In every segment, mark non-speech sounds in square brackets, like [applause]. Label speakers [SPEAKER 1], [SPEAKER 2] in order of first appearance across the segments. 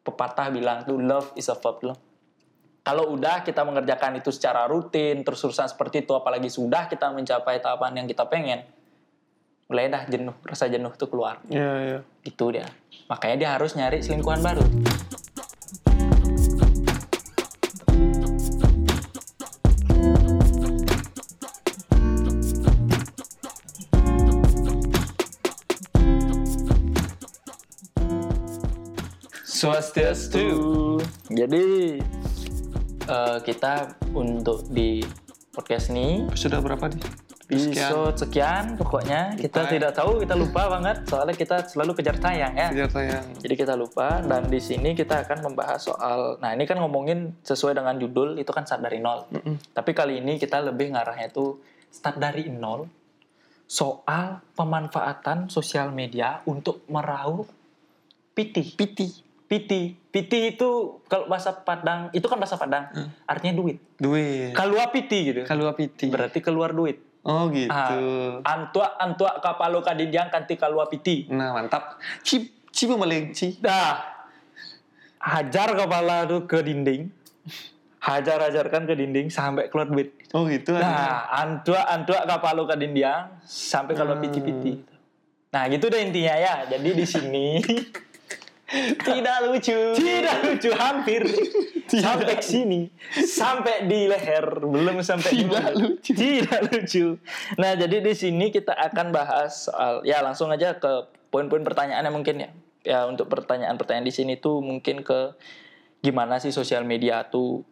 [SPEAKER 1] pepatah bilang tuh love is a verb love. Kalau udah kita mengerjakan itu secara rutin, terus-terusan seperti itu, apalagi sudah kita mencapai tahapan yang kita pengen, mulai dah jenuh, rasa jenuh tuh keluar.
[SPEAKER 2] Iya, iya.
[SPEAKER 1] Gitu dia. Makanya dia harus nyari selingkuhan baru.
[SPEAKER 2] Swastiastu.
[SPEAKER 1] Jadi eh, kita untuk di podcast ini
[SPEAKER 2] Sudah berapa nih? Sekian.
[SPEAKER 1] episode sekian pokoknya kita
[SPEAKER 2] Lupa.
[SPEAKER 1] tidak tahu kita lupa banget soalnya kita selalu kejar tayang ya.
[SPEAKER 2] Kejar tayang.
[SPEAKER 1] Jadi kita lupa dan di sini kita akan membahas soal nah ini kan ngomongin sesuai dengan judul itu kan start dari nol.
[SPEAKER 2] Mm-mm.
[SPEAKER 1] Tapi kali ini kita lebih ngarahnya tuh start dari nol soal pemanfaatan sosial media untuk meraup piti. Piti. Piti. Piti itu kalau bahasa Padang, itu kan bahasa Padang,
[SPEAKER 2] Hmm.
[SPEAKER 1] artinya duit.
[SPEAKER 2] Duit.
[SPEAKER 1] Keluar piti gitu.
[SPEAKER 2] Kalua piti.
[SPEAKER 1] Berarti keluar duit. Ah,
[SPEAKER 2] Oh gitu.
[SPEAKER 1] Antua antua kapalo kadidiang kanti keluar piti.
[SPEAKER 2] Nah mantap. Cip, cipu melenci.
[SPEAKER 1] Dah. Hajar kepala tuh ke dinding. Hajar-hajarkan ke dinding sampai keluar duit.
[SPEAKER 2] Oh gitu. ada.
[SPEAKER 1] Nah, antua antua kapalo ke dinding sampai kalau
[SPEAKER 2] Hmm.
[SPEAKER 1] piti-piti. Nah, gitu deh intinya ya. Jadi di [laughs] sini
[SPEAKER 2] Tidak lucu.
[SPEAKER 1] tidak lucu hampir [laughs] sampai ke sini, sampai di leher, belum sampai di
[SPEAKER 2] Tidak
[SPEAKER 1] mulut.
[SPEAKER 2] lucu.
[SPEAKER 1] [laughs] Tidak lucu. Nah, jadi di sini kita akan bahas soal ya langsung aja ke poin-poin pertanyaannya mungkin ya. Ya, untuk pertanyaan-pertanyaan di sini tuh mungkin ke gimana sih sosial media tuh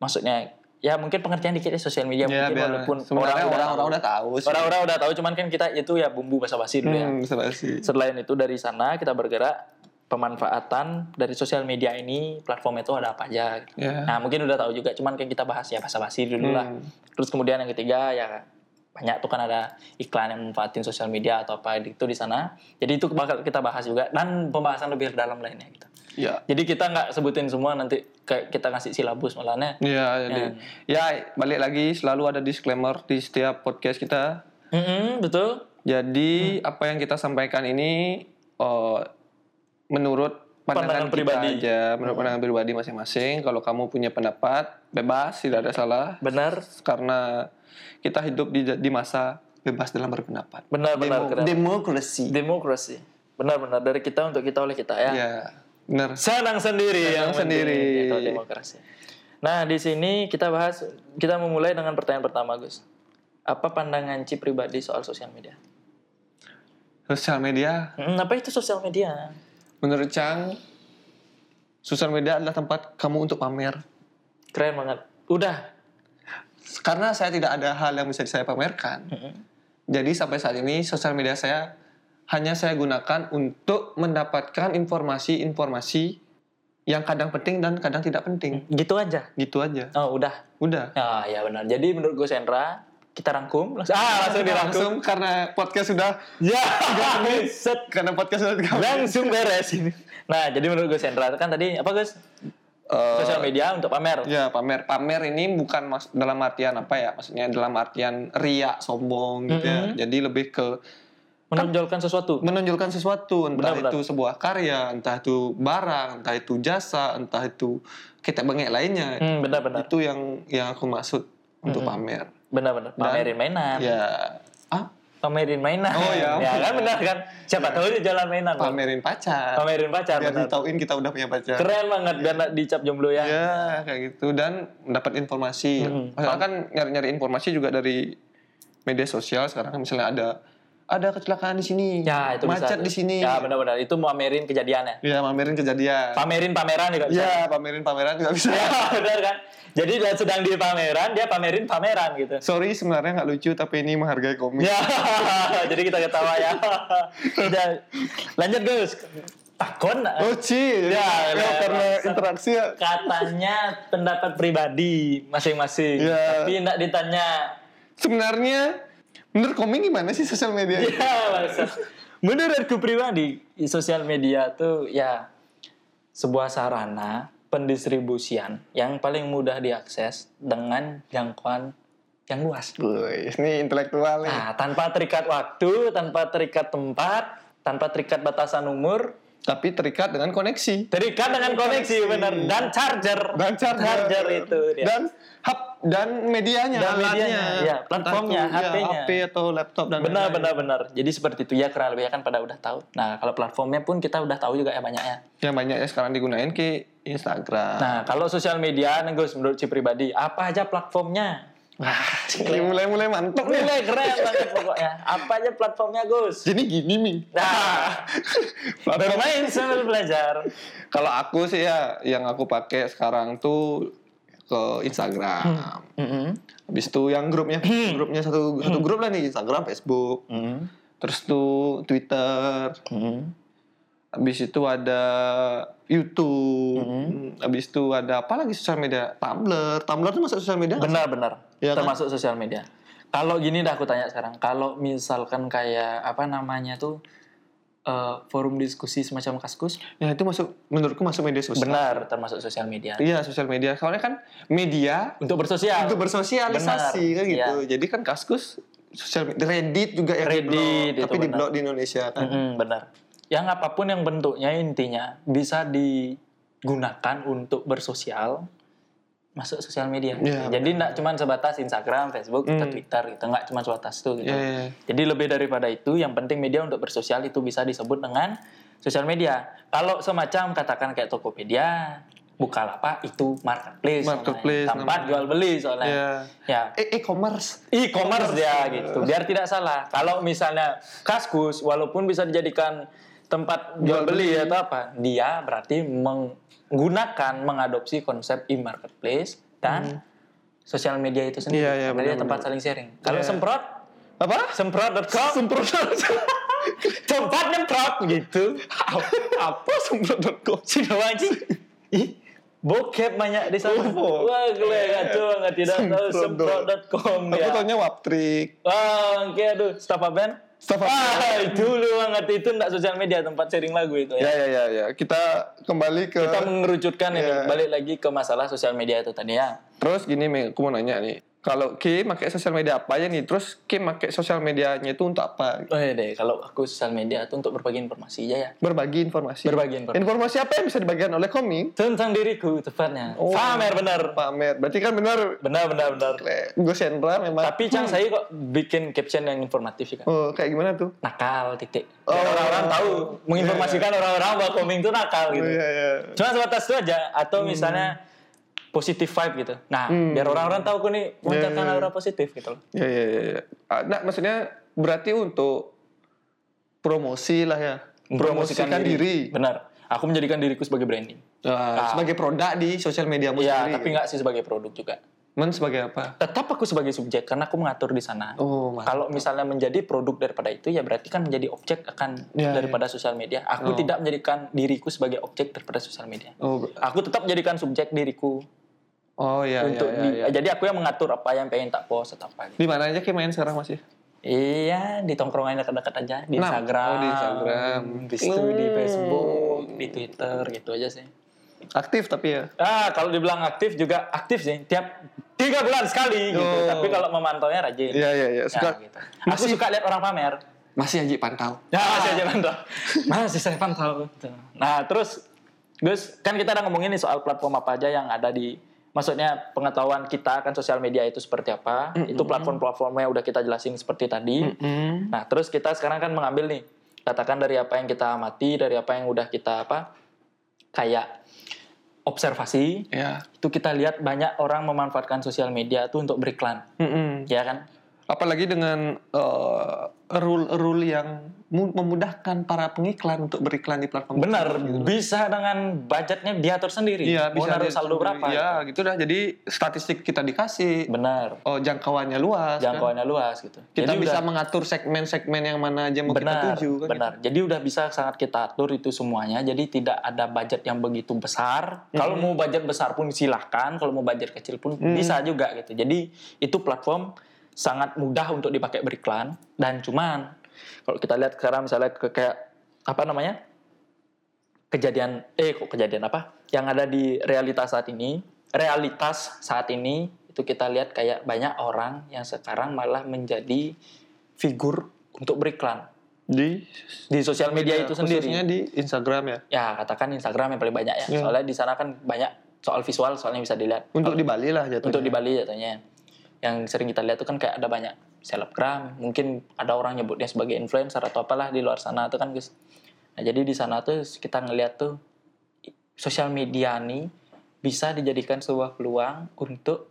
[SPEAKER 1] maksudnya ya mungkin pengertian dikit ya sosial media
[SPEAKER 2] Ya,
[SPEAKER 1] mungkin
[SPEAKER 2] biar
[SPEAKER 1] walaupun
[SPEAKER 2] sebenarnya orang-orang udah tahu. sih.
[SPEAKER 1] orang-orang udah tahu cuman kan kita itu ya bumbu basa-basi dulu ya.
[SPEAKER 2] Hmm, salah sih.
[SPEAKER 1] Selain itu dari sana kita bergerak pemanfaatan dari sosial media ini platform itu ada apa aja. gitu.
[SPEAKER 2] Ya.
[SPEAKER 1] Nah mungkin udah tahu juga, cuman kan kita bahas ya basa-basi dulu lah.
[SPEAKER 2] Hmm.
[SPEAKER 1] Terus kemudian yang ketiga ya banyak tuh kan ada iklan yang manfaatin sosial media atau apa itu di sana. Jadi itu bakal kita bahas juga dan pembahasan lebih dalam lainnya gitu.
[SPEAKER 2] Ya.
[SPEAKER 1] Jadi kita nggak sebutin semua nanti kayak kita ngasih silabus malahnya.
[SPEAKER 2] Ya, jadi ya balik lagi selalu ada disclaimer di setiap podcast kita.
[SPEAKER 1] Mm-mm, betul.
[SPEAKER 2] Jadi apa yang kita sampaikan ini eh, menurut
[SPEAKER 1] Pandangan
[SPEAKER 2] pandangan, kita
[SPEAKER 1] pribadi.
[SPEAKER 2] aja, menurut pandangan pribadi masing-masing. Kalau kamu punya pendapat, bebas, tidak ada salah.
[SPEAKER 1] Benar.
[SPEAKER 2] Karena kita hidup di di masa bebas dalam berpendapat.
[SPEAKER 1] Benar-benar
[SPEAKER 2] Demo- demokrasi.
[SPEAKER 1] demokrasi. Benar-benar dari kita untuk kita oleh kita ya.
[SPEAKER 2] Ya, benar.
[SPEAKER 1] Senang sendiri
[SPEAKER 2] Senang
[SPEAKER 1] yang penting,
[SPEAKER 2] sendiri.
[SPEAKER 1] ya, kalau demokrasi. Nah, di sini kita bahas kita memulai dengan pertanyaan pertama, Gus. Apa pandangan Ci pribadi soal sosial media?
[SPEAKER 2] Sosial media,
[SPEAKER 1] Hmm, apa itu sosial media?
[SPEAKER 2] menurut Chang, sosial media adalah tempat kamu untuk pamer.
[SPEAKER 1] Keren banget. Udah.
[SPEAKER 2] Karena saya tidak ada hal yang bisa saya pamerkan. Jadi sampai saat ini sosial media saya hanya saya gunakan untuk mendapatkan informasi-informasi yang kadang penting dan kadang tidak penting.
[SPEAKER 1] Gitu aja.
[SPEAKER 2] Gitu aja.
[SPEAKER 1] Oh, udah.
[SPEAKER 2] Udah.
[SPEAKER 1] Ah, ya benar. Jadi menurut Gus Hendra, kita rangkum langsung ah langsung dirangkum.
[SPEAKER 2] Langsung karena podcast sudah
[SPEAKER 1] [laughs] Ya, set
[SPEAKER 2] karena podcast sudah tiga menit.
[SPEAKER 1] langsung beres ini. Nah, jadi menurut Gus Hendra kan tadi apa Gus?
[SPEAKER 2] Eh,
[SPEAKER 1] Sosial media untuk pamer.
[SPEAKER 2] Ya pamer, pamer ini bukan mas dalam artian apa ya? Maksudnya dalam artian ria, sombong gitu ya. Jadi lebih ke
[SPEAKER 1] Menonjolkan sesuatu.
[SPEAKER 2] menonjolkan sesuatu, entah
[SPEAKER 1] Benar, benar.
[SPEAKER 2] itu sebuah karya, entah itu barang, entah itu jasa, entah itu kita bengek lainnya.
[SPEAKER 1] Hmm, benar-benar.
[SPEAKER 2] itu yang yang aku maksud untuk pamer
[SPEAKER 1] Benar-benar. Pamerin mainan.
[SPEAKER 2] ya ah
[SPEAKER 1] pamerin mainan.
[SPEAKER 2] Oh, ya.
[SPEAKER 1] kan benar kan. Siapa tahu dia jalan mainan. Bang.
[SPEAKER 2] pamerin pacar
[SPEAKER 1] Pamerin pacar.
[SPEAKER 2] biar
[SPEAKER 1] benar.
[SPEAKER 2] ditauin kita udah punya pacar
[SPEAKER 1] Keren banget
[SPEAKER 2] Iya.
[SPEAKER 1] biar nggak dicap jomblo ya. Hmm,
[SPEAKER 2] ya kayak gitu dan mendapat informasi maksudnya kan nyari-nyari informasi juga dari media sosial sekarang kan misalnya ada ada kecelakaan di sini
[SPEAKER 1] Ya, itu bisa.
[SPEAKER 2] macet di sini
[SPEAKER 1] Ya benar-benar itu pamerin kejadiannya.
[SPEAKER 2] ya pamerin kejadian
[SPEAKER 1] Pamerin pameran juga bisa.
[SPEAKER 2] ya pamerin pameran juga bisa
[SPEAKER 1] [laughs] Ya, benar kan. Jadi dia sedang di pameran, dia pamerin pameran gitu.
[SPEAKER 2] sorry sebenarnya nggak lucu tapi ini menghargai komik
[SPEAKER 1] Ya, [laughs] jadi kita ketawa
[SPEAKER 2] [laughs]
[SPEAKER 1] ya. Udah. Lanjut Gus. Takon
[SPEAKER 2] oh
[SPEAKER 1] Ya,
[SPEAKER 2] ci ya,
[SPEAKER 1] ya,
[SPEAKER 2] karena
[SPEAKER 1] bangsa.
[SPEAKER 2] interaksi ya
[SPEAKER 1] katanya pendapat pribadi masing-masing,
[SPEAKER 2] Ya.
[SPEAKER 1] tapi tidak ditanya
[SPEAKER 2] sebenarnya menurut komik gimana sih sosial media
[SPEAKER 1] Ya, maksud- Menurutku pribadi, sosial media tuh ya sebuah sarana pendistribusian yang paling mudah diakses dengan jangkauan yang luas.
[SPEAKER 2] Wih, ini
[SPEAKER 1] Ah.
[SPEAKER 2] intelektual nih.
[SPEAKER 1] Nah, tanpa terikat waktu, tanpa terikat tempat, tanpa terikat batasan umur,
[SPEAKER 2] tapi terikat dengan koneksi
[SPEAKER 1] Terikat dengan koneksi benar dan charger.
[SPEAKER 2] dan charger,
[SPEAKER 1] Charger itu dia.
[SPEAKER 2] dan hub dan medianya
[SPEAKER 1] Dan
[SPEAKER 2] alatnya.
[SPEAKER 1] medianya, ya, platformnya,
[SPEAKER 2] Entah itu,
[SPEAKER 1] HP-nya.
[SPEAKER 2] HP atau laptop dan
[SPEAKER 1] Benar,
[SPEAKER 2] lain-lain.
[SPEAKER 1] benar, benar. Jadi seperti itu ya kurang lebih kan pada udah tahu. Nah, kalau platformnya pun kita udah tahu juga ya banyaknya.
[SPEAKER 2] yang banyak ya sekarang digunain ke Instagram
[SPEAKER 1] Nah, kalau sosial media Negus menurut si pribadi, apa aja platformnya?
[SPEAKER 2] Ini mulai-mulai mantap nih
[SPEAKER 1] Mulai keren banget pokoknya. Apa aja platformnya, Gus?
[SPEAKER 2] jadi gini Ming
[SPEAKER 1] Nah,
[SPEAKER 2] [laughs] Platform-
[SPEAKER 1] bermain sambil belajar.
[SPEAKER 2] kalau aku sih ya yang aku pakai sekarang tuh ke
[SPEAKER 1] Hmm.
[SPEAKER 2] Instagram habis itu yang grupnya grupnya satu satu grup lah nih Instagram Facebook
[SPEAKER 1] Hmm.
[SPEAKER 2] terus tuh Twitter habis itu ada YouTube
[SPEAKER 1] Hmm.
[SPEAKER 2] habis itu ada apa lagi sosial media Tumblr Tumblr tuh masuk sosial media nggak
[SPEAKER 1] Benar, benar.
[SPEAKER 2] Iya kan?
[SPEAKER 1] Termasuk sosial media. Kalau gini dah aku tanya sekarang, kalau misalkan kayak apa namanya tuh eh, forum diskusi semacam kaskus,
[SPEAKER 2] sih? ya itu masuk menurutku masuk media sosial
[SPEAKER 1] benar termasuk sosial media.
[SPEAKER 2] iya sosial media soalnya kan media
[SPEAKER 1] Untuk bersosial.
[SPEAKER 2] itu
[SPEAKER 1] Benar,
[SPEAKER 2] bersosialisasi
[SPEAKER 1] Iya.
[SPEAKER 2] kan gitu jadi kan kaskus sosial media Reddit juga yang
[SPEAKER 1] Reddit,
[SPEAKER 2] diblok,
[SPEAKER 1] itu
[SPEAKER 2] tapi
[SPEAKER 1] benar.
[SPEAKER 2] di blog di Indonesia kan
[SPEAKER 1] Mm-mm, benar. Yang apapun yang bentuknya intinya bisa digunakan untuk bersosial masuk sosial media.
[SPEAKER 2] Iya,
[SPEAKER 1] Jadi nggak cuma sebatas Instagram, Facebook, atau
[SPEAKER 2] Mm.
[SPEAKER 1] Twitter gitu, nggak cuma sebatas itu gitu.
[SPEAKER 2] Iya, iya, iya.
[SPEAKER 1] Jadi lebih daripada itu, yang penting media untuk bersosial itu bisa disebut dengan sosial media. Kalau semacam katakan kayak Tokopedia, Bukalapak itu marketplace, namanya.
[SPEAKER 2] Marketplace
[SPEAKER 1] tempat
[SPEAKER 2] namanya.
[SPEAKER 1] jual beli soalnya.
[SPEAKER 2] Iya.
[SPEAKER 1] Ya,
[SPEAKER 2] Eh, e-commerce
[SPEAKER 1] e-commerce ya gitu biar tidak salah kalau misalnya kaskus walaupun bisa dijadikan tempat jual beli atau apa dia berarti menggunakan mengadopsi konsep e-marketplace dan sosial media itu sendiri
[SPEAKER 2] Hmm. Iya, iya,
[SPEAKER 1] Makanya
[SPEAKER 2] benar-benar.
[SPEAKER 1] tempat saling sharing kalau
[SPEAKER 2] Iya.
[SPEAKER 1] semprot
[SPEAKER 2] apa
[SPEAKER 1] semprot.com
[SPEAKER 2] semprot
[SPEAKER 1] [laughs] tempat nyemprot gitu
[SPEAKER 2] apa semprot.com [laughs]
[SPEAKER 1] Sidoarjo Ih, bokep banyak di sana
[SPEAKER 2] Oh,
[SPEAKER 1] wah gue kacau banget tidak tahu
[SPEAKER 2] Semprot.
[SPEAKER 1] semprot.com
[SPEAKER 2] aku
[SPEAKER 1] ya
[SPEAKER 2] taunya waptrik
[SPEAKER 1] Wah, oke aduh, staff band.
[SPEAKER 2] Staff Up
[SPEAKER 1] Ah, dulu banget itu enggak sosial media tempat sharing lagu itu
[SPEAKER 2] ya
[SPEAKER 1] ya.
[SPEAKER 2] ya ya ya kita kembali ke
[SPEAKER 1] Kita mengerucutkan ini
[SPEAKER 2] Iya.
[SPEAKER 1] balik lagi ke masalah sosial media itu tadi ya.
[SPEAKER 2] terus gini Mei, aku mau nanya nih kalau Ki pakai sosial media apa aja nih terus Ki pakai sosial medianya itu untuk apa
[SPEAKER 1] Oh iya deh, kalau aku sosial media itu untuk berbagi informasi aja ya.
[SPEAKER 2] berbagi informasi
[SPEAKER 1] Berbagi informasi.
[SPEAKER 2] informasi apa yang bisa dibagikan oleh komik
[SPEAKER 1] Tentang diriku tepatnya.
[SPEAKER 2] Oh.
[SPEAKER 1] Pamer benar.
[SPEAKER 2] pamer berarti kan benar
[SPEAKER 1] Benar benar benar.
[SPEAKER 2] gue Sandra memang
[SPEAKER 1] Tapi Cang saya kok bikin caption yang informatif juga.
[SPEAKER 2] oh kayak gimana tuh
[SPEAKER 1] Nakal titik.
[SPEAKER 2] Oh. Ya,
[SPEAKER 1] Biar orang-orang tahu menginformasikan orang-orang bahwa koming itu nakal gitu.
[SPEAKER 2] oh, iya iya
[SPEAKER 1] Cuma sebatas itu aja atau
[SPEAKER 2] Hmm.
[SPEAKER 1] misalnya positive vibe gitu. Nah, biar orang-orang tahu aku nih menciptakan aura positif gitu loh.
[SPEAKER 2] ya ya ya, ya. Ah, nah maksudnya berarti untuk promosi lah ya promosikan diri,
[SPEAKER 1] Benar. Aku menjadikan diriku sebagai branding.
[SPEAKER 2] Nah, sebagai produk di sosial mediamu
[SPEAKER 1] Iya,
[SPEAKER 2] sendiri
[SPEAKER 1] tapi nggak sih sebagai produk juga.
[SPEAKER 2] men sebagai apa
[SPEAKER 1] Tetap aku sebagai subjek karena aku mengatur di sana.
[SPEAKER 2] oh mas
[SPEAKER 1] Kalau misalnya menjadi produk daripada itu ya berarti kan menjadi objek akan
[SPEAKER 2] Iya,
[SPEAKER 1] daripada sosial media. Aku tidak menjadikan diriku sebagai objek daripada sosial media.
[SPEAKER 2] oh ber-
[SPEAKER 1] Aku tetap menjadikan subjek diriku
[SPEAKER 2] oh ya
[SPEAKER 1] untuk
[SPEAKER 2] ya,
[SPEAKER 1] di- jadi aku yang mengatur apa yang pengen tak post atau apa gitu.
[SPEAKER 2] di mana aja Ki main sekarang masih
[SPEAKER 1] Iya, di tongkrongan dekat-dekat aja di
[SPEAKER 2] Nah,
[SPEAKER 1] Instagram,
[SPEAKER 2] oh, di Instagram.
[SPEAKER 1] Habis itu di
[SPEAKER 2] Hmm.
[SPEAKER 1] Facebook, di Twitter gitu aja sih.
[SPEAKER 2] aktif tapi ya
[SPEAKER 1] Ah, kalau dibilang aktif juga aktif sih, tiap tiga bulan sekali gitu.
[SPEAKER 2] Oh.
[SPEAKER 1] Tapi kalau memantaunya rajin.
[SPEAKER 2] Iya iya iya.
[SPEAKER 1] Ya,
[SPEAKER 2] Suka
[SPEAKER 1] gitu. Aku suka lihat orang pamer.
[SPEAKER 2] masih aja pantau.
[SPEAKER 1] Ya, masih aja mantau. masih saya pantau. Gitu. Nah, terus Gus, kan kita udah ngomongin nih soal platform apa aja yang ada di maksudnya pengetahuan kita akan sosial media itu seperti apa. Itu platform-platformnya udah kita jelasin seperti tadi.
[SPEAKER 2] Hmm.
[SPEAKER 1] Nah, terus kita sekarang kan mengambil nih, katakan dari apa yang kita amati, dari apa yang udah kita apa, kayak observasi,
[SPEAKER 2] Ya.
[SPEAKER 1] itu kita lihat banyak orang memanfaatkan sosial media itu untuk beriklan,
[SPEAKER 2] Mm-mm.
[SPEAKER 1] ya kan?
[SPEAKER 2] Apalagi dengan eh, rule-rule yang mu- memudahkan para pengiklan untuk beriklan di platform.
[SPEAKER 1] Benar, bisa dengan budgetnya diatur sendiri.
[SPEAKER 2] Iya,
[SPEAKER 1] Mau
[SPEAKER 2] bisa
[SPEAKER 1] naruh
[SPEAKER 2] di-
[SPEAKER 1] saldo berapa?
[SPEAKER 2] Iya, gitu dah. Jadi statistik kita dikasih
[SPEAKER 1] Benar,
[SPEAKER 2] oh, jangkauannya luas. kan.
[SPEAKER 1] jangkauannya luas gitu.
[SPEAKER 2] Kita
[SPEAKER 1] Jadi
[SPEAKER 2] bisa
[SPEAKER 1] udah-
[SPEAKER 2] mengatur segmen-segmen yang mana aja mau
[SPEAKER 1] benar,
[SPEAKER 2] kita tuju kan.
[SPEAKER 1] benar. Jadi udah bisa sangat kita atur itu semuanya. Jadi tidak ada budget yang begitu besar.
[SPEAKER 2] Hmm.
[SPEAKER 1] Kalau mau budget besar pun silahkan. Kalau mau budget kecil pun bisa juga gitu. Jadi itu platform sangat mudah untuk dipakai beriklan. Dan cuman kalau kita lihat sekarang misalnya ke kayak apa namanya kejadian eh kok kejadian apa yang ada di realitas saat ini realitas saat ini itu kita lihat kayak banyak orang yang sekarang malah menjadi figur untuk beriklan
[SPEAKER 2] di
[SPEAKER 1] di sosial media itu
[SPEAKER 2] Iya,
[SPEAKER 1] sendiri.
[SPEAKER 2] khususnya di Instagram ya.
[SPEAKER 1] Ya katakan Instagram yang paling banyak ya.
[SPEAKER 2] Ya.
[SPEAKER 1] Soalnya di sana kan banyak soal visual soalnya bisa dilihat.
[SPEAKER 2] Untuk di Bali lah jatuhnya.
[SPEAKER 1] Untuk di Bali jatuhnya. Yang sering kita lihat tuh kan kayak ada banyak selebgram, mungkin ada orang nyebutnya sebagai influencer atau apalah di luar sana tuh kan guys. Nah, jadi di sana tuh kita ngelihat tuh i- sosial media nih bisa dijadikan sebuah peluang untuk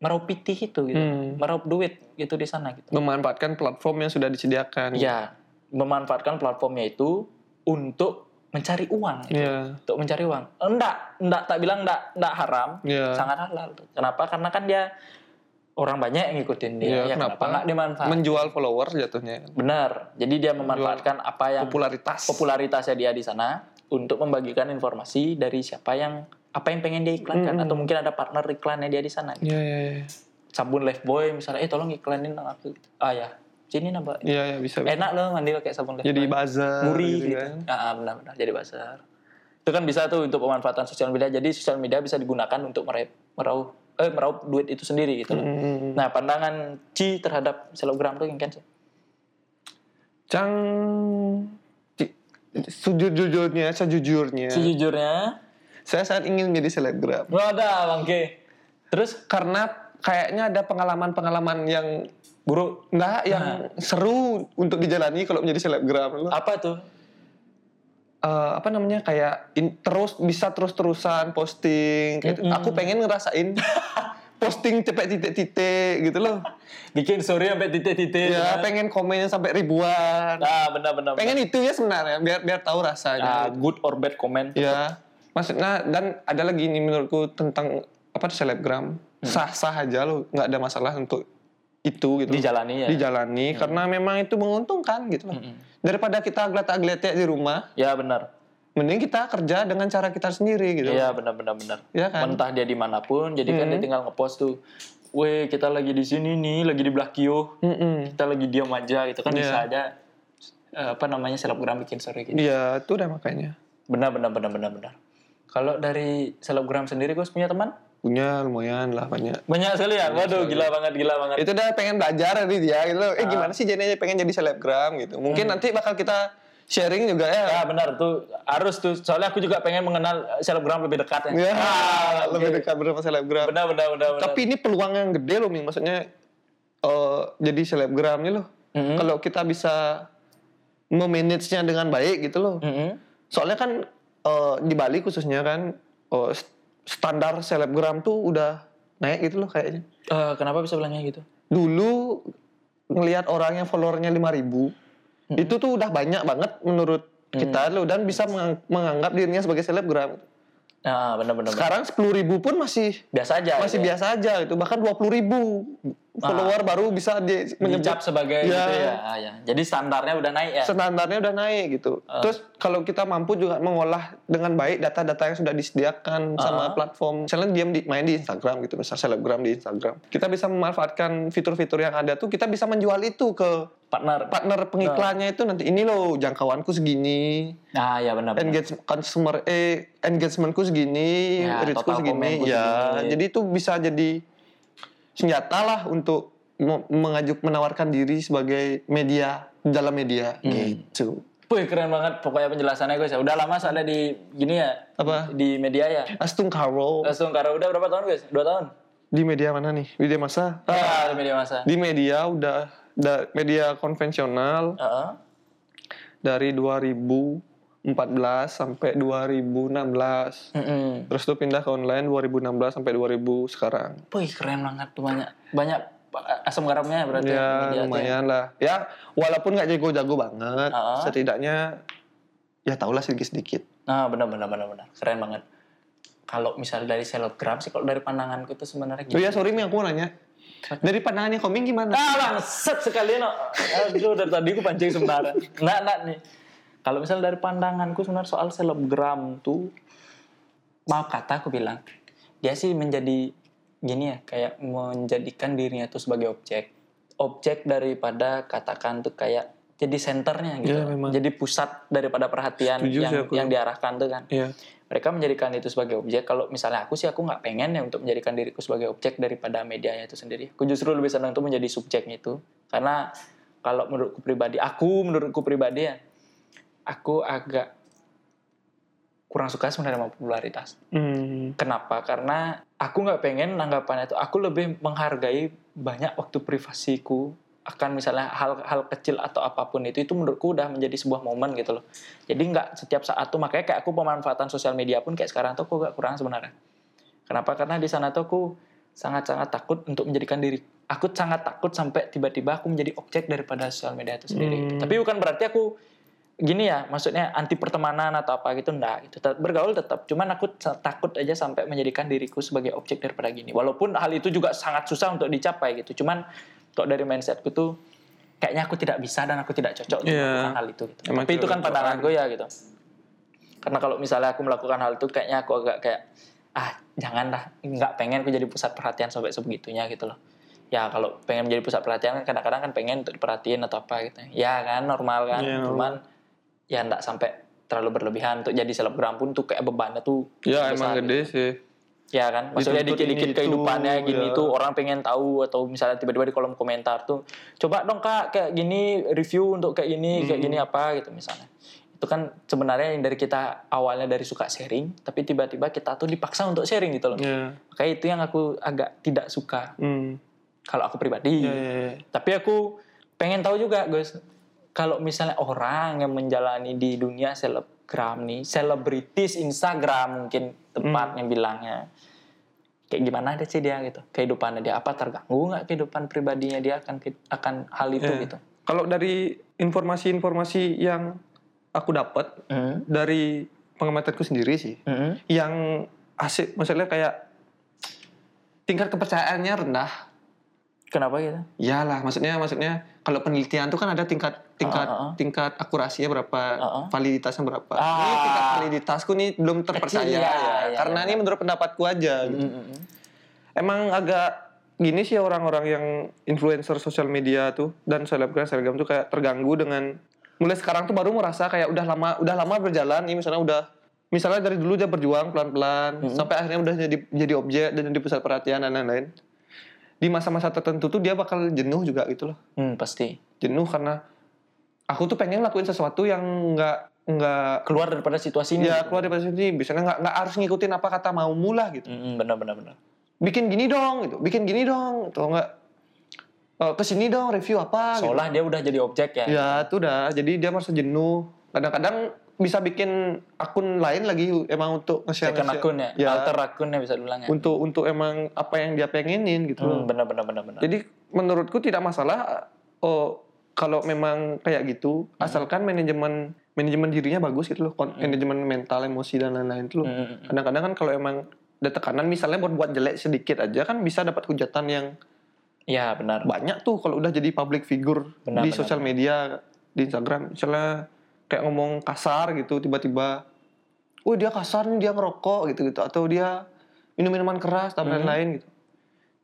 [SPEAKER 1] meraup piti itu gitu.
[SPEAKER 2] Hmm.
[SPEAKER 1] Meraup duit gitu di sana gitu.
[SPEAKER 2] memanfaatkan platform yang sudah disediakan.
[SPEAKER 1] Ya, memanfaatkan platformnya itu untuk mencari uang,
[SPEAKER 2] Iya.
[SPEAKER 1] untuk mencari uang. Enggak, enggak tak bilang enggak, enggak haram,
[SPEAKER 2] Iya.
[SPEAKER 1] sangat halal. Kenapa? Karena kan dia orang banyak yang ngikutin dia.
[SPEAKER 2] Iya,
[SPEAKER 1] ya, kenapa
[SPEAKER 2] kenapa?
[SPEAKER 1] enggak dimanfaatkan?
[SPEAKER 2] Menjual followers jatuhnya kan.
[SPEAKER 1] Benar. Jadi dia memanfaatkan apa yang
[SPEAKER 2] Popularitas.
[SPEAKER 1] popularitasnya dia di sana untuk membagikan informasi dari siapa yang apa yang pengen dia iklankan
[SPEAKER 2] Mm-mm.
[SPEAKER 1] atau mungkin ada partner iklannya dia di sana.
[SPEAKER 2] Iya, iya, iya.
[SPEAKER 1] Sabun Lifebuoy misalnya, eh tolong iklanin aku. Ah ya, sini nambah.
[SPEAKER 2] Iya, iya, bisa. bisa.
[SPEAKER 1] Enak loh mandi pakai sabun Lifebuoy.
[SPEAKER 2] Jadi bazar
[SPEAKER 1] gurih Eh, gitu.
[SPEAKER 2] kan.
[SPEAKER 1] Ah, ah, benar-benar jadi pasar. Itu kan bisa tuh untuk pemanfaatan sosial media. Jadi sosial media bisa digunakan untuk meraih meraup eh meraup duit itu sendiri gitu loh.
[SPEAKER 2] Mm.
[SPEAKER 1] Nah, pandangan Ci terhadap selebgram tuh yang kan Ci?
[SPEAKER 2] Cang Ci- sejujurnya, sejujurnya,
[SPEAKER 1] sejujurnya
[SPEAKER 2] saya sangat ingin menjadi selebgram.
[SPEAKER 1] ada Bang K. Terus
[SPEAKER 2] karena kayaknya ada pengalaman-pengalaman yang buruk
[SPEAKER 1] Nah.
[SPEAKER 2] enggak yang seru untuk dijalani kalau menjadi selebgram Lu,
[SPEAKER 1] apa tuh?
[SPEAKER 2] eh, apa namanya kayak in- terus bisa terus-terusan posting kayak gitu.
[SPEAKER 1] Mm-mm.
[SPEAKER 2] aku pengen ngerasain [laughs] posting cepet titik-titik gitu
[SPEAKER 1] [laughs]
[SPEAKER 2] loh
[SPEAKER 1] Bikin story sampai titik-titik.
[SPEAKER 2] ya
[SPEAKER 1] benar.
[SPEAKER 2] pengen komennya sampai
[SPEAKER 1] Iya.
[SPEAKER 2] ribuan
[SPEAKER 1] Nah, benar-benar.
[SPEAKER 2] pengen itu ya sebenarnya biar biar tahu
[SPEAKER 1] Ah,
[SPEAKER 2] rasanya
[SPEAKER 1] good or bad comment.
[SPEAKER 2] ya maksudnya dan ada lagi ini menurutku tentang apa selebgram sah-sah aja loh nggak ada masalah untuk itu gitu
[SPEAKER 1] Dijalani ya.
[SPEAKER 2] dijalani karena memang itu menguntungkan gitu loh.
[SPEAKER 1] Mm-mm.
[SPEAKER 2] Daripada kita geletak-geletek di rumah,
[SPEAKER 1] Ya benar.
[SPEAKER 2] mending kita kerja dengan cara kita sendiri gitu.
[SPEAKER 1] Iya benar-benar benar.
[SPEAKER 2] Iya kan?
[SPEAKER 1] Mentah dia dimanapun, jadi kan dia tinggal ngepost tuh. Weh kita lagi di sini nih, lagi di Blakio,
[SPEAKER 2] Mm-mm.
[SPEAKER 1] kita lagi diam aja gitu kan
[SPEAKER 2] Iya.
[SPEAKER 1] bisa aja eh, apa namanya selebgram bikin story gitu.
[SPEAKER 2] Iya, itu udah makanya.
[SPEAKER 1] Benar benar benar benar benar. Kalau dari selebgram sendiri gue punya teman
[SPEAKER 2] Punya lumayan lah banyak.
[SPEAKER 1] banyak sekali ya. Waduh gila banget gila banget.
[SPEAKER 2] Itu udah pengen belajar dari dia gitu. loh. Eh gimana sih jadinya pengen jadi selebgram gitu. Mungkin nanti bakal kita sharing juga ya.
[SPEAKER 1] Ya benar tuh harus tuh. Soalnya aku juga pengen mengenal eh, selebgram lebih dekat ya.
[SPEAKER 2] Ya, [laughs] lebih dekat bersama selebgram.
[SPEAKER 1] Benar benar benar. benar.
[SPEAKER 2] Tapi ini peluang yang gede loh, Ming. Maksudnya eh, jadi selebgram ini loh.
[SPEAKER 1] Mhm.
[SPEAKER 2] Kalau kita bisa memanage-nya dengan baik gitu loh.
[SPEAKER 1] Mm-mm.
[SPEAKER 2] soalnya kan eh, di Bali khususnya kan eh, st- standar selebgram tuh udah naik gitu loh kayaknya
[SPEAKER 1] Eh, kenapa bisa bilangnya gitu?
[SPEAKER 2] dulu ngelihat orang yang followernya 5000 itu tuh udah banyak banget menurut kita loh dan bisa mengang- menganggap dirinya sebagai selebgram
[SPEAKER 1] Nah benar benar. benar.
[SPEAKER 2] sekarang 10.000 pun masih
[SPEAKER 1] Biasa aja.
[SPEAKER 2] masih
[SPEAKER 1] gitu ya.
[SPEAKER 2] biasa aja gitu bahkan 20.000 follower baru bisa di
[SPEAKER 1] menyecap sebagai
[SPEAKER 2] Ya.
[SPEAKER 1] gitu ya. Ah, ya. Jadi standarnya udah naik ya.
[SPEAKER 2] standarnya udah naik gitu. Terus kalau kita mampu juga mengolah dengan baik data-data yang sudah disediakan sama platform, misalnya dia di- main di Instagram gitu, misal selebgram di Instagram, kita bisa memanfaatkan fitur-fitur yang ada tuh, kita bisa menjual itu ke
[SPEAKER 1] Partner.
[SPEAKER 2] partner pengiklannya itu nanti ini loh jangkauanku segini,
[SPEAKER 1] Nah, ya benar. benar.
[SPEAKER 2] engagement consumer eh engagementku segini,
[SPEAKER 1] Ya,
[SPEAKER 2] reachku
[SPEAKER 1] total
[SPEAKER 2] segini,
[SPEAKER 1] komenku
[SPEAKER 2] ya.
[SPEAKER 1] segini.
[SPEAKER 2] Jadi itu bisa jadi senjata lah untuk me- mengajuk menawarkan diri sebagai media dalam media
[SPEAKER 1] Hmm.
[SPEAKER 2] gitu.
[SPEAKER 1] Wih, keren banget pokoknya penjelasannya guys ya. Udah lama soalnya di gini ya.
[SPEAKER 2] Apa?
[SPEAKER 1] Di media ya.
[SPEAKER 2] Astung Karo
[SPEAKER 1] Langsung karena udah berapa tahun guys? Dua tahun.
[SPEAKER 2] di media mana nih? Media masa?
[SPEAKER 1] Ya, di media masa.
[SPEAKER 2] Di media udah da- media konvensional
[SPEAKER 1] Heeh.
[SPEAKER 2] dari 2014 sampai 2016.
[SPEAKER 1] Mm-mm.
[SPEAKER 2] Terus tuh pindah ke online 2016 sampai 2000 sekarang.
[SPEAKER 1] Wih, keren banget tuh banyak banyak asam garamnya berarti
[SPEAKER 2] Ya
[SPEAKER 1] media tuh ya.
[SPEAKER 2] lumayan lah. Ya walaupun nggak jago-jago banget,
[SPEAKER 1] Ah.
[SPEAKER 2] setidaknya ya tahulah sedikit-sedikit.
[SPEAKER 1] Nah, benar benar benar benar. Keren banget. Kalau misalnya dari selebgram sih kalau dari pandanganku tuh sebenarnya gitu.
[SPEAKER 2] Oh ya sorry Ming, aku mau nanya. Dari pandangannya Koming gimana?
[SPEAKER 1] Ah bangset sekalian. oh. Aduh dari tadi aku pancing sebenarnya. Nah, nah nih. Kalau misalnya dari pandanganku sebenarnya soal selebgram tuh maaf kata aku bilang dia sih menjadi gini ya kayak menjadikan dirinya tuh sebagai objek objek daripada katakan tuh kayak jadi senternya gitu
[SPEAKER 2] Iya, memang.
[SPEAKER 1] jadi pusat daripada perhatian
[SPEAKER 2] Setuju
[SPEAKER 1] yang
[SPEAKER 2] sih aku.
[SPEAKER 1] yang diarahkan tuh kan
[SPEAKER 2] Iya.
[SPEAKER 1] mereka menjadikan itu sebagai objek kalau misalnya aku sih aku nggak pengen ya untuk menjadikan diriku sebagai objek daripada medianya itu sendiri aku justru lebih senang tuh menjadi subjeknya itu karena kalau menurutku pribadi aku menurutku pribadi ya aku agak kurang suka sebenarnya sama popularitas
[SPEAKER 2] Hmm.
[SPEAKER 1] Kenapa? Karena aku nggak pengen nanggapannya itu. Aku lebih menghargai banyak waktu privasiku akan misalnya hal-hal kecil atau apapun itu itu menurutku udah menjadi sebuah momen gitu loh. Jadi nggak setiap saat tuh makanya kayak aku pemanfaatan sosial media pun kayak sekarang tuh aku agak kurang sebenarnya. Kenapa? Karena di sana tuh aku sangat-sangat takut untuk menjadikan diri. Aku sangat takut sampai tiba-tiba aku menjadi objek daripada sosial media itu sendiri.
[SPEAKER 2] Hmm.
[SPEAKER 1] Tapi bukan berarti aku gini ya maksudnya anti pertemanan atau apa gitu enggak gitu Tet- bergaul tetap cuman aku sa- takut aja sampai menjadikan diriku sebagai objek daripada gini walaupun hal itu juga sangat susah untuk dicapai gitu cuman kalau dari mindsetku tuh kayaknya aku tidak bisa dan aku tidak cocok untuk
[SPEAKER 2] Iya.
[SPEAKER 1] melakukan hal itu gitu.
[SPEAKER 2] Emang
[SPEAKER 1] tapi itu kan
[SPEAKER 2] cocok.
[SPEAKER 1] pandanganku ya gitu karena kalau misalnya aku melakukan hal itu kayaknya aku agak kayak ah jangan dah nggak pengen aku jadi pusat perhatian sampai sebegitunya gitu loh ya kalau pengen menjadi pusat perhatian kan kadang-kadang kan pengen untuk diperhatiin atau apa gitu ya kan normal kan
[SPEAKER 2] Iya,
[SPEAKER 1] cuman ya nggak sampai terlalu berlebihan untuk jadi selebgram pun tuh kayak bebannya tuh
[SPEAKER 2] Ya emang
[SPEAKER 1] besar,
[SPEAKER 2] gede sih.
[SPEAKER 1] ya kan maksudnya
[SPEAKER 2] Dituntut
[SPEAKER 1] dikit-dikit
[SPEAKER 2] ini itu,
[SPEAKER 1] kehidupannya gini
[SPEAKER 2] ya.
[SPEAKER 1] tuh orang pengen tahu atau misalnya tiba-tiba di kolom komentar tuh coba dong kak kayak gini review untuk kayak gini kayak
[SPEAKER 2] Hmm.
[SPEAKER 1] gini apa gitu misalnya itu kan sebenarnya yang dari kita awalnya dari suka sharing tapi tiba-tiba kita tuh dipaksa untuk sharing gitu loh
[SPEAKER 2] Ya.
[SPEAKER 1] kayak itu yang aku agak tidak suka
[SPEAKER 2] Hmm.
[SPEAKER 1] kalau aku pribadi
[SPEAKER 2] Ya, ya, ya.
[SPEAKER 1] tapi aku pengen tahu juga guys kalau misalnya orang yang menjalani di dunia selebgram nih selebritis Instagram mungkin tepatnya bilangnya kayak gimana deh sih dia gitu kehidupannya dia apa terganggu nggak kehidupan pribadinya dia akan akan hal itu
[SPEAKER 2] Iya.
[SPEAKER 1] gitu
[SPEAKER 2] Kalau dari informasi-informasi yang aku dapat
[SPEAKER 1] Mm.
[SPEAKER 2] dari pengamatanku sendiri sih,
[SPEAKER 1] Mm.
[SPEAKER 2] yang asik maksudnya kayak tingkat kepercayaannya rendah.
[SPEAKER 1] kenapa gitu
[SPEAKER 2] Iyalah, maksudnya maksudnya kalau penelitian tuh kan ada tingkat tingkat
[SPEAKER 1] Ah, ah, ah.
[SPEAKER 2] tingkat akurasinya berapa,
[SPEAKER 1] Ah, ah.
[SPEAKER 2] validitasnya berapa.
[SPEAKER 1] Ah.
[SPEAKER 2] Ini tingkat validitasku nih belum terpercaya
[SPEAKER 1] Kecil,
[SPEAKER 2] ya,
[SPEAKER 1] ya, ya,
[SPEAKER 2] karena
[SPEAKER 1] ya.
[SPEAKER 2] ini menurut pendapatku aja. gitu.
[SPEAKER 1] Mm, mm, mm.
[SPEAKER 2] Emang agak gini sih orang-orang yang influencer sosial media tuh dan selebgram selebgram tuh kayak terganggu dengan mulai sekarang tuh baru merasa kayak udah lama udah lama berjalan ini misalnya udah misalnya dari dulu dia berjuang pelan-pelan
[SPEAKER 1] Mhm.
[SPEAKER 2] sampai akhirnya udah jadi jadi objek dan jadi pusat perhatian dan lain-lain di masa-masa tertentu tuh dia bakal jenuh juga gitu loh
[SPEAKER 1] Hmm, pasti
[SPEAKER 2] jenuh karena aku tuh pengen lakuin sesuatu yang nggak nggak
[SPEAKER 1] keluar daripada situasi ini
[SPEAKER 2] ya
[SPEAKER 1] gitu.
[SPEAKER 2] keluar dari sini biasanya nggak nggak harus ngikutin apa kata mau mula gitu
[SPEAKER 1] Mm, mm, benar benar benar
[SPEAKER 2] bikin gini dong gitu bikin gini dong atau nggak eh, kesini dong review apa gitu.
[SPEAKER 1] seolah dia udah jadi objek ya
[SPEAKER 2] ya itu udah jadi dia merasa jenuh kadang-kadang bisa bikin akun lain lagi emang untuk nge-share
[SPEAKER 1] second
[SPEAKER 2] nge-share.
[SPEAKER 1] akun ya,
[SPEAKER 2] Ya.
[SPEAKER 1] alter akunnya bisa dibilang ya
[SPEAKER 2] untuk untuk emang apa yang dia pengenin gitu loh.
[SPEAKER 1] Hmm, benar benar benar benar
[SPEAKER 2] Jadi menurutku tidak masalah oh kalau memang kayak gitu asalkan manajemen manajemen dirinya bagus gitu loh, kon- manajemen mental, emosi dan lain-lain itu loh.
[SPEAKER 1] Mm, mm, mm.
[SPEAKER 2] Kadang-kadang kan kalau emang ada tekanan misalnya buat buat jelek sedikit aja kan bisa dapat hujatan yang
[SPEAKER 1] ya benar
[SPEAKER 2] banyak tuh kalau udah jadi public figure
[SPEAKER 1] Benar,
[SPEAKER 2] di
[SPEAKER 1] benar,
[SPEAKER 2] sosial media, di Instagram misalnya kayak ngomong kasar gitu tiba-tiba oh dia kasar nih dia ngerokok gitu-gitu atau dia minum minuman keras dan
[SPEAKER 1] Hmm.
[SPEAKER 2] lain-lain gitu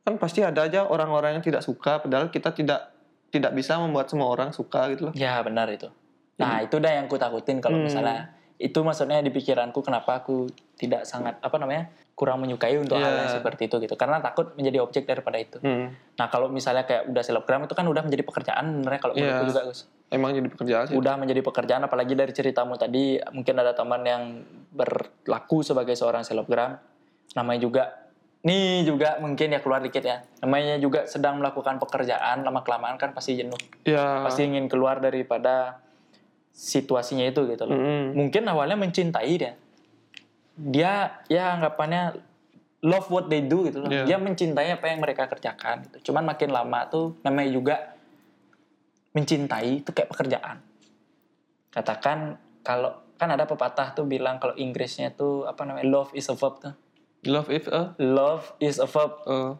[SPEAKER 2] kan pasti ada aja orang-orang yang tidak suka padahal kita tidak tidak bisa membuat semua orang suka gitu loh
[SPEAKER 1] Ya benar itu. Nah itu dah yang ku takutin kalau
[SPEAKER 2] Iya. Hmm.
[SPEAKER 1] misalnya itu maksudnya di pikiranku kenapa aku tidak sangat apa namanya kurang menyukai untuk hal yang
[SPEAKER 2] Iya.
[SPEAKER 1] seperti itu gitu karena takut menjadi objek daripada itu.
[SPEAKER 2] Hmm.
[SPEAKER 1] Nah kalau misalnya kayak udah selebgram itu kan udah menjadi pekerjaan sebenarnya kalau menurutku
[SPEAKER 2] Iya.
[SPEAKER 1] juga Gus.
[SPEAKER 2] emang jadi pekerjaan sih
[SPEAKER 1] Udah menjadi pekerjaan apalagi dari ceritamu tadi mungkin ada teman yang berlaku sebagai seorang selebgram namanya juga nih juga mungkin ya keluar dikit ya namanya juga sedang melakukan pekerjaan lama kelamaan kan pasti jenuh
[SPEAKER 2] ya
[SPEAKER 1] pasti ingin keluar daripada situasinya itu gitu loh.
[SPEAKER 2] Mm-mm.
[SPEAKER 1] Mungkin awalnya mencintai dia. Dia ya anggapannya love what they do gitu loh.
[SPEAKER 2] Iya.
[SPEAKER 1] Dia mencintai apa yang mereka kerjakan gitu. Cuman makin lama tuh namanya juga mencintai itu kayak pekerjaan. Katakan kalau kan ada pepatah tuh bilang kalau Inggrisnya tuh apa namanya love is a verb tuh.
[SPEAKER 2] love if a
[SPEAKER 1] Love is a verb
[SPEAKER 2] uh,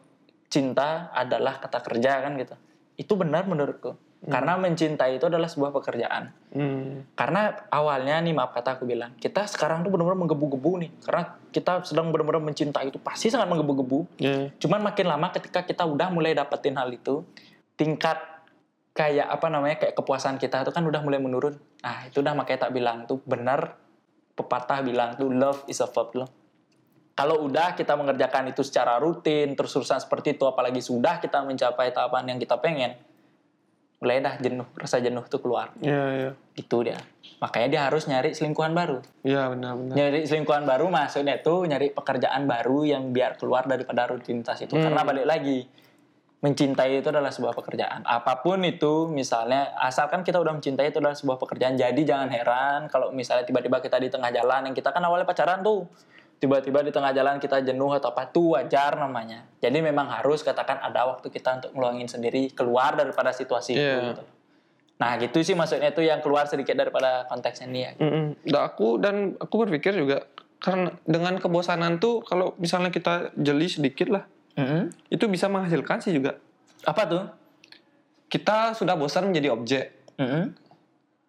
[SPEAKER 1] cinta adalah kata kerja kan gitu. Itu benar menurutku. Karena mencintai itu adalah sebuah pekerjaan.
[SPEAKER 2] mm,
[SPEAKER 1] Hmm. Karena awalnya nih maaf kata aku bilang, kita sekarang tuh benar-benar menggebu-gebu nih. Karena kita sedang benar-benar mencintai itu pasti sangat menggebu-gebu.
[SPEAKER 2] yeah.
[SPEAKER 1] Cuman makin lama ketika kita udah mulai dapetin hal itu, tingkat kayak apa namanya kayak kepuasan kita itu kan udah mulai menurun. Nah, itu udah makanya tak bilang tuh benar pepatah bilang tuh love is a verb loh. Kalau udah kita mengerjakan itu secara rutin, terus-terusan seperti itu, apalagi sudah kita mencapai tahapan yang kita pengen, mulai dah jenuh rasa jenuh tuh keluar
[SPEAKER 2] Iya, iya.
[SPEAKER 1] gitu dia makanya dia harus nyari selingkuhan baru
[SPEAKER 2] Iya, benar-benar.
[SPEAKER 1] nyari selingkuhan baru maksudnya tuh nyari pekerjaan baru yang biar keluar daripada rutinitas itu
[SPEAKER 2] Hmm.
[SPEAKER 1] karena balik lagi mencintai itu adalah sebuah pekerjaan apapun itu misalnya asalkan kita udah mencintai itu adalah sebuah pekerjaan jadi jangan heran kalau misalnya tiba-tiba kita di tengah jalan yang kita kan awalnya pacaran tuh tiba-tiba di tengah jalan kita jenuh atau apa tuh wajar namanya jadi memang harus katakan ada waktu kita untuk ngeluangin sendiri keluar daripada situasi itu
[SPEAKER 2] Iya.
[SPEAKER 1] gitu. nah gitu sih maksudnya tuh yang keluar sedikit daripada konteksnya ya. dia
[SPEAKER 2] Mm-mm. Dan aku dan aku berpikir juga karena dengan kebosanan tuh kalau misalnya kita jeli sedikit lah, itu bisa menghasilkan sih juga.
[SPEAKER 1] apa tuh
[SPEAKER 2] Kita sudah bosan menjadi objek. Mm-hmm.
[SPEAKER 1] Mm-mm.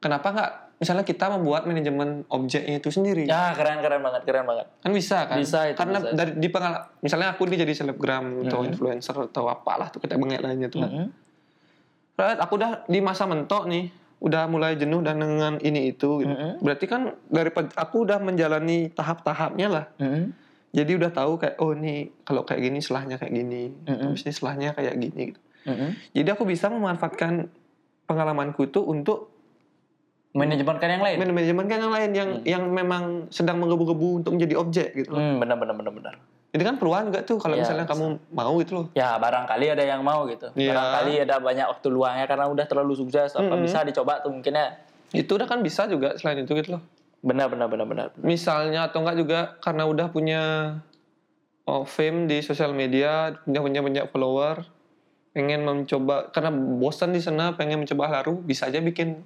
[SPEAKER 2] Kenapa nggak misalnya kita membuat manajemen objeknya itu sendiri?
[SPEAKER 1] Ya keren keren banget keren banget.
[SPEAKER 2] Kan bisa kan?
[SPEAKER 1] Bisa, itu
[SPEAKER 2] Karena
[SPEAKER 1] bisa. Ya,
[SPEAKER 2] dari di pengalaman misalnya aku ini jadi selebgram atau
[SPEAKER 1] Mm-mm.
[SPEAKER 2] influencer atau apalah tuh kita bengek lainnya
[SPEAKER 1] Ya.
[SPEAKER 2] tuh. kan. Right, aku udah di masa mentok nih, udah mulai jenuh dan dengan ini itu gitu.
[SPEAKER 1] Mm-mm.
[SPEAKER 2] Berarti kan dari aku udah menjalani tahap-tahapnya lah. Jadi udah tahu kayak oh ini kalau kayak gini selahnya kayak gini,
[SPEAKER 1] Mm-mm.
[SPEAKER 2] habis ini selahnya kayak gini gitu. Jadi aku bisa memanfaatkan pengalamanku itu untuk
[SPEAKER 1] Manajemenkan yang lain.
[SPEAKER 2] man- manajemen kan yang lain yang
[SPEAKER 1] Iya. Mm.
[SPEAKER 2] yang memang sedang menggebu-gebu untuk menjadi objek gitu. loh.
[SPEAKER 1] Hmm, benar benar benar benar.
[SPEAKER 2] Jadi kan peluang juga tuh kalau
[SPEAKER 1] Iya,
[SPEAKER 2] misalnya kamu mau gitu loh.
[SPEAKER 1] Ya barangkali ada yang mau gitu.
[SPEAKER 2] Iya. Mm-hmm.
[SPEAKER 1] Barangkali ada banyak waktu luangnya karena udah terlalu sukses apa
[SPEAKER 2] Mm-mm.
[SPEAKER 1] bisa dicoba tuh mungkin ya.
[SPEAKER 2] Itu udah kan bisa juga selain itu gitu loh.
[SPEAKER 1] Benar benar benar benar. benar.
[SPEAKER 2] misalnya atau enggak juga karena udah punya oh, fame di sosial media punya punya banyak follower pengen mencoba karena bosan di sana pengen mencoba hal baru bisa aja bikin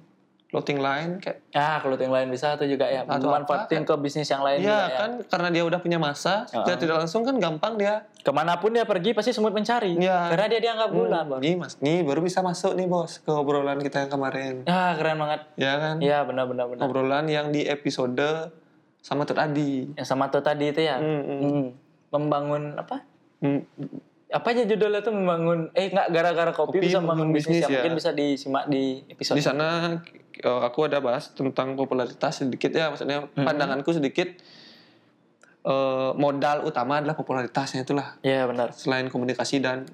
[SPEAKER 2] clothing line kayak
[SPEAKER 1] Ya kalau yang lain bisa tuh juga ya.
[SPEAKER 2] Atau
[SPEAKER 1] Manfaatin ke bisnis yang lain juga
[SPEAKER 2] ya
[SPEAKER 1] ya.
[SPEAKER 2] kan karena dia udah punya masa
[SPEAKER 1] Heeh.
[SPEAKER 2] dia tidak langsung kan gampang dia
[SPEAKER 1] Kemanapun dia pergi pasti semut mencari.
[SPEAKER 2] Iya.
[SPEAKER 1] Karena dia dianggap gula.
[SPEAKER 2] hmm, nih mas nih baru bisa masuk nih bos ke obrolan kita yang kemarin
[SPEAKER 1] Ya keren banget.
[SPEAKER 2] ya kan
[SPEAKER 1] Ya benar benar benar.
[SPEAKER 2] obrolan yang di episode sama Tut Adi
[SPEAKER 1] Yang sama tuh tadi itu ya.
[SPEAKER 2] Hmm, hmm.
[SPEAKER 1] Hmm. Membangun apa?
[SPEAKER 2] Hmm,
[SPEAKER 1] apa aja judulnya tuh membangun eh nggak gara-gara kopi,
[SPEAKER 2] Kopi
[SPEAKER 1] bisa membangun
[SPEAKER 2] membangun
[SPEAKER 1] bisnis,
[SPEAKER 2] bisnis
[SPEAKER 1] ya.
[SPEAKER 2] ya.
[SPEAKER 1] mungkin bisa disimak di episode
[SPEAKER 2] di sana eh, aku ada bahas tentang popularitas sedikit ya maksudnya pandanganku sedikit eh, modal utama adalah popularitasnya itulah
[SPEAKER 1] ya benar
[SPEAKER 2] selain komunikasi dan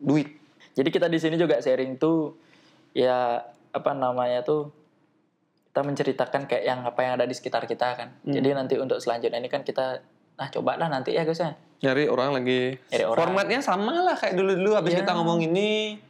[SPEAKER 2] duit
[SPEAKER 1] jadi kita di sini juga sharing tuh ya apa namanya tuh kita menceritakan kayak yang apa yang ada di sekitar kita kan
[SPEAKER 2] Hmm.
[SPEAKER 1] jadi nanti untuk selanjutnya ini kan kita nah coba lah nanti ya guys ya
[SPEAKER 2] nyari orang lagi
[SPEAKER 1] Nyari orang.
[SPEAKER 2] formatnya sama lah kayak dulu dulu habis
[SPEAKER 1] Iya.
[SPEAKER 2] kita ngomong ini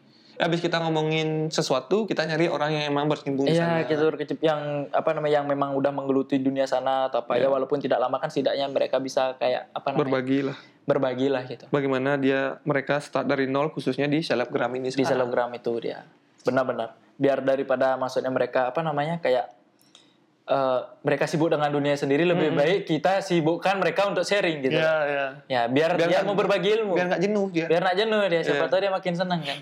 [SPEAKER 2] habis kita ngomongin sesuatu kita nyari orang yang emang berkembang di sana
[SPEAKER 1] Iya, gitu kecil yang apa namanya yang memang udah menggeluti dunia sana atau apa ya walaupun tidak lama kan setidaknya mereka bisa kayak apa namanya
[SPEAKER 2] Iya. berbagi lah
[SPEAKER 1] berbagi lah gitu
[SPEAKER 2] bagaimana dia mereka start dari nol khususnya di selebgram ini
[SPEAKER 1] di
[SPEAKER 2] sekarang.
[SPEAKER 1] selebgram itu dia benar-benar biar daripada maksudnya mereka apa namanya kayak eh, mereka sibuk dengan dunia sendiri lebih
[SPEAKER 2] Hmm.
[SPEAKER 1] baik kita sibukkan mereka untuk sharing gitu
[SPEAKER 2] Iya, iya.
[SPEAKER 1] ya biar, dia
[SPEAKER 2] Biar nggak-
[SPEAKER 1] mau berbagi ilmu
[SPEAKER 2] biar
[SPEAKER 1] biar,
[SPEAKER 2] nggak jenuh dia
[SPEAKER 1] nggak jenuh dia siapa
[SPEAKER 2] Iya.
[SPEAKER 1] tahu dia makin senang kan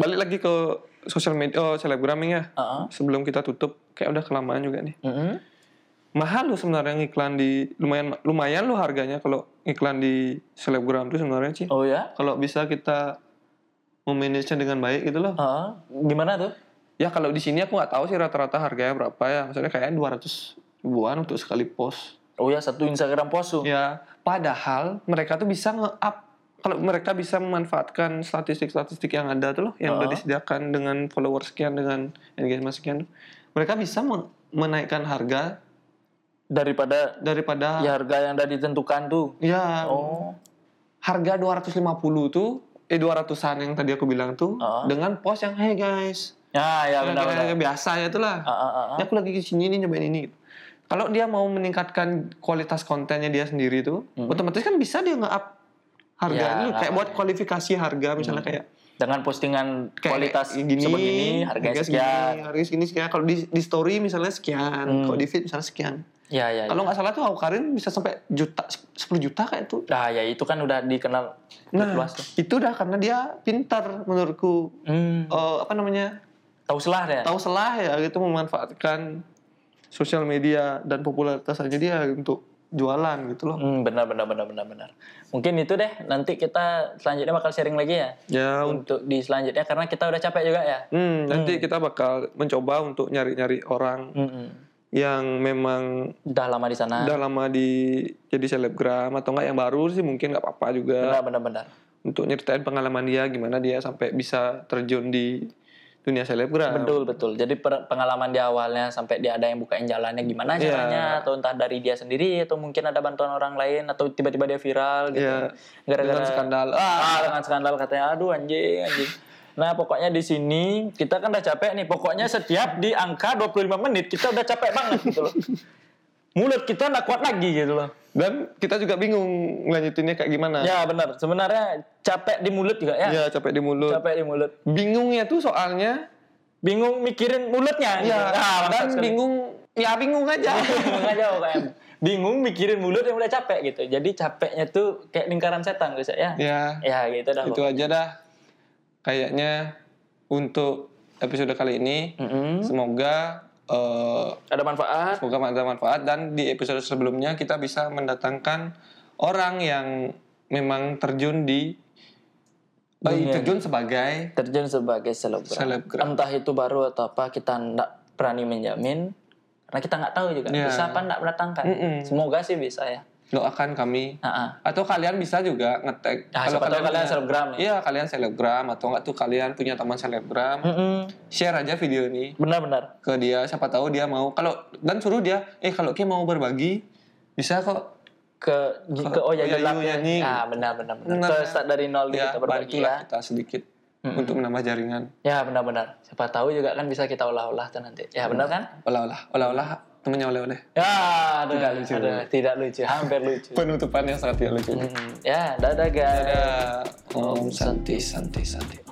[SPEAKER 2] balik lagi ke sosial media oh, selebgramming ya
[SPEAKER 1] Heeh.
[SPEAKER 2] sebelum kita tutup kayak udah kelamaan juga nih
[SPEAKER 1] Mm-mm.
[SPEAKER 2] mahal lo sebenarnya ngiklan di lumayan lumayan lo harganya kalau iklan di selebgram tuh sebenarnya sih
[SPEAKER 1] oh ya
[SPEAKER 2] kalau bisa kita memanage dengan baik gitu loh
[SPEAKER 1] Heeh. gimana tuh
[SPEAKER 2] ya kalau di sini aku nggak tahu sih rata-rata harganya berapa ya maksudnya kayaknya 200 ribuan untuk sekali post
[SPEAKER 1] oh ya satu instagram post tuh
[SPEAKER 2] ya padahal mereka tuh bisa nge-up kalau mereka bisa memanfaatkan statistik-statistik yang ada tuh loh yang udah
[SPEAKER 1] Uh-uh.
[SPEAKER 2] disediakan dengan follower sekian dengan engagement sekian mereka bisa men- menaikkan harga
[SPEAKER 1] daripada
[SPEAKER 2] daripada
[SPEAKER 1] ya harga yang udah ditentukan tuh
[SPEAKER 2] Ya,
[SPEAKER 1] oh
[SPEAKER 2] harga 250 tuh eh 200-an yang tadi aku bilang tuh
[SPEAKER 1] Heeh.
[SPEAKER 2] dengan post yang hey guys.
[SPEAKER 1] ya ya
[SPEAKER 2] yang
[SPEAKER 1] benar-benar
[SPEAKER 2] biasa ya itulah.
[SPEAKER 1] Ah, ah, ah, ah.
[SPEAKER 2] Ini aku lagi di sini nih nyobain ini. gitu. Kalau dia mau meningkatkan kualitas kontennya dia sendiri tuh,
[SPEAKER 1] Hmm.
[SPEAKER 2] otomatis kan bisa dia nge-up harga
[SPEAKER 1] Ya,
[SPEAKER 2] dulu. kayak
[SPEAKER 1] nge-up
[SPEAKER 2] buat
[SPEAKER 1] aja.
[SPEAKER 2] kualifikasi harga misalnya kayak,
[SPEAKER 1] dengan postingan
[SPEAKER 2] kayak
[SPEAKER 1] kualitas gini, sebegini harganya
[SPEAKER 2] harga
[SPEAKER 1] sekian
[SPEAKER 2] segini, harga segini sekian. Kalau di, di story misalnya sekian,
[SPEAKER 1] Hmm.
[SPEAKER 2] kalau di feed misalnya sekian.
[SPEAKER 1] ya ya, ya.
[SPEAKER 2] Kalau nggak salah tuh aku Karin bisa sampai juta 10 juta kayak itu
[SPEAKER 1] Nah, ya itu kan udah dikenal
[SPEAKER 2] Nah,
[SPEAKER 1] luas tuh.
[SPEAKER 2] itu dah karena dia pintar menurutku
[SPEAKER 1] Hmm.
[SPEAKER 2] Eh, apa namanya
[SPEAKER 1] Tahu selah deh.
[SPEAKER 2] tahu selah ya gitu memanfaatkan sosial media dan popularitas aja dia untuk jualan gitu loh.
[SPEAKER 1] Hmm, benar benar benar benar benar. Mungkin itu deh nanti kita selanjutnya bakal sharing lagi ya
[SPEAKER 2] Ya, un-
[SPEAKER 1] untuk di selanjutnya karena kita udah capek juga ya.
[SPEAKER 2] hmm, nanti kita bakal mencoba untuk nyari-nyari orang
[SPEAKER 1] Mm-mm.
[SPEAKER 2] yang memang
[SPEAKER 1] Hmm, Udah lama di sana.
[SPEAKER 2] udah lama di jadi selebgram atau enggak yang baru sih mungkin nggak apa-apa juga
[SPEAKER 1] Benar benar benar.
[SPEAKER 2] untuk nyeritain pengalaman dia gimana dia sampai bisa terjun di dunia selebgram.
[SPEAKER 1] Betul betul. Jadi per- pengalaman di awalnya sampai dia ada yang bukain jalannya gimana
[SPEAKER 2] Iya.
[SPEAKER 1] caranya atau entah dari dia sendiri atau mungkin ada bantuan orang lain atau tiba-tiba dia viral gitu.
[SPEAKER 2] Iya.
[SPEAKER 1] Gara-gara
[SPEAKER 2] Dengan skandal.
[SPEAKER 1] Ah, dengan skandal katanya aduh anjing anjing. Nah, pokoknya di sini kita kan udah capek nih. Pokoknya setiap di angka 25 menit kita udah capek banget gitu loh. Mulut kita nggak kuat lagi gitu loh.
[SPEAKER 2] Dan kita juga bingung lanjutinnya kayak gimana.
[SPEAKER 1] Ya benar. Sebenarnya capek di mulut juga ya.
[SPEAKER 2] Ya, capek di mulut.
[SPEAKER 1] Capek di mulut.
[SPEAKER 2] Bingungnya tuh soalnya
[SPEAKER 1] Bingung mikirin mulutnya. gitu.
[SPEAKER 2] ya
[SPEAKER 1] Nah, mantap
[SPEAKER 2] dan
[SPEAKER 1] sekali.
[SPEAKER 2] bingung ya bingung aja.
[SPEAKER 1] bingung aja pokoknya. Bingung mikirin mulut yang udah capek gitu. Jadi capeknya tuh kayak lingkaran setan gitu ya.
[SPEAKER 2] [laughs] ya,
[SPEAKER 1] Ya gitu dah.
[SPEAKER 2] itu aja dah. Kayaknya untuk episode kali ini
[SPEAKER 1] Mm-mm.
[SPEAKER 2] semoga eh,
[SPEAKER 1] Ada manfaat.
[SPEAKER 2] semoga ada manfaat dan di episode sebelumnya kita bisa mendatangkan orang yang memang terjun di eh,
[SPEAKER 1] Dunia.
[SPEAKER 2] terjun sebagai
[SPEAKER 1] Terjun sebagai selebgram.
[SPEAKER 2] Selebgram.
[SPEAKER 1] Entah itu baru atau apa kita ndak berani menjamin karena kita nggak tahu juga
[SPEAKER 2] Iya.
[SPEAKER 1] bisa apa ndak mendatangkan.
[SPEAKER 2] Mm-mm.
[SPEAKER 1] Semoga sih bisa ya.
[SPEAKER 2] doakan kami
[SPEAKER 1] Nah,
[SPEAKER 2] atau kalian bisa juga ngetek
[SPEAKER 1] Nah, siapa tahu kalian
[SPEAKER 2] punya-
[SPEAKER 1] selebgram ya.
[SPEAKER 2] iya kalian selebgram atau enggak tuh kalian punya teman selebgram share aja video ini
[SPEAKER 1] Benar-benar.
[SPEAKER 2] ke dia siapa tahu dia mau kalau dan suruh dia eh kalau kayak mau berbagi bisa kok
[SPEAKER 1] Ke ke oh ya
[SPEAKER 2] Oyayu
[SPEAKER 1] gelap ya.
[SPEAKER 2] nyanyi.
[SPEAKER 1] Ah, benar-benar. benar.
[SPEAKER 2] Benar.
[SPEAKER 1] Ke start dari nol
[SPEAKER 2] ya
[SPEAKER 1] kita berbagi
[SPEAKER 2] bantulah
[SPEAKER 1] ya.
[SPEAKER 2] kita sedikit untuk menambah jaringan
[SPEAKER 1] Ya benar-benar. Siapa tahu juga kan bisa kita olah-olah tuh nanti. Ya benar kan?
[SPEAKER 2] olah-olah olah-olah temennya oleh-oleh
[SPEAKER 1] Ya, aduh,
[SPEAKER 2] Tidak lucu.
[SPEAKER 1] aduh, tidak lucu, hampir lucu. Iya.
[SPEAKER 2] penutupan yang sangat tidak lucu
[SPEAKER 1] Mm, ya, dadah guys.
[SPEAKER 2] ada om santi santi santi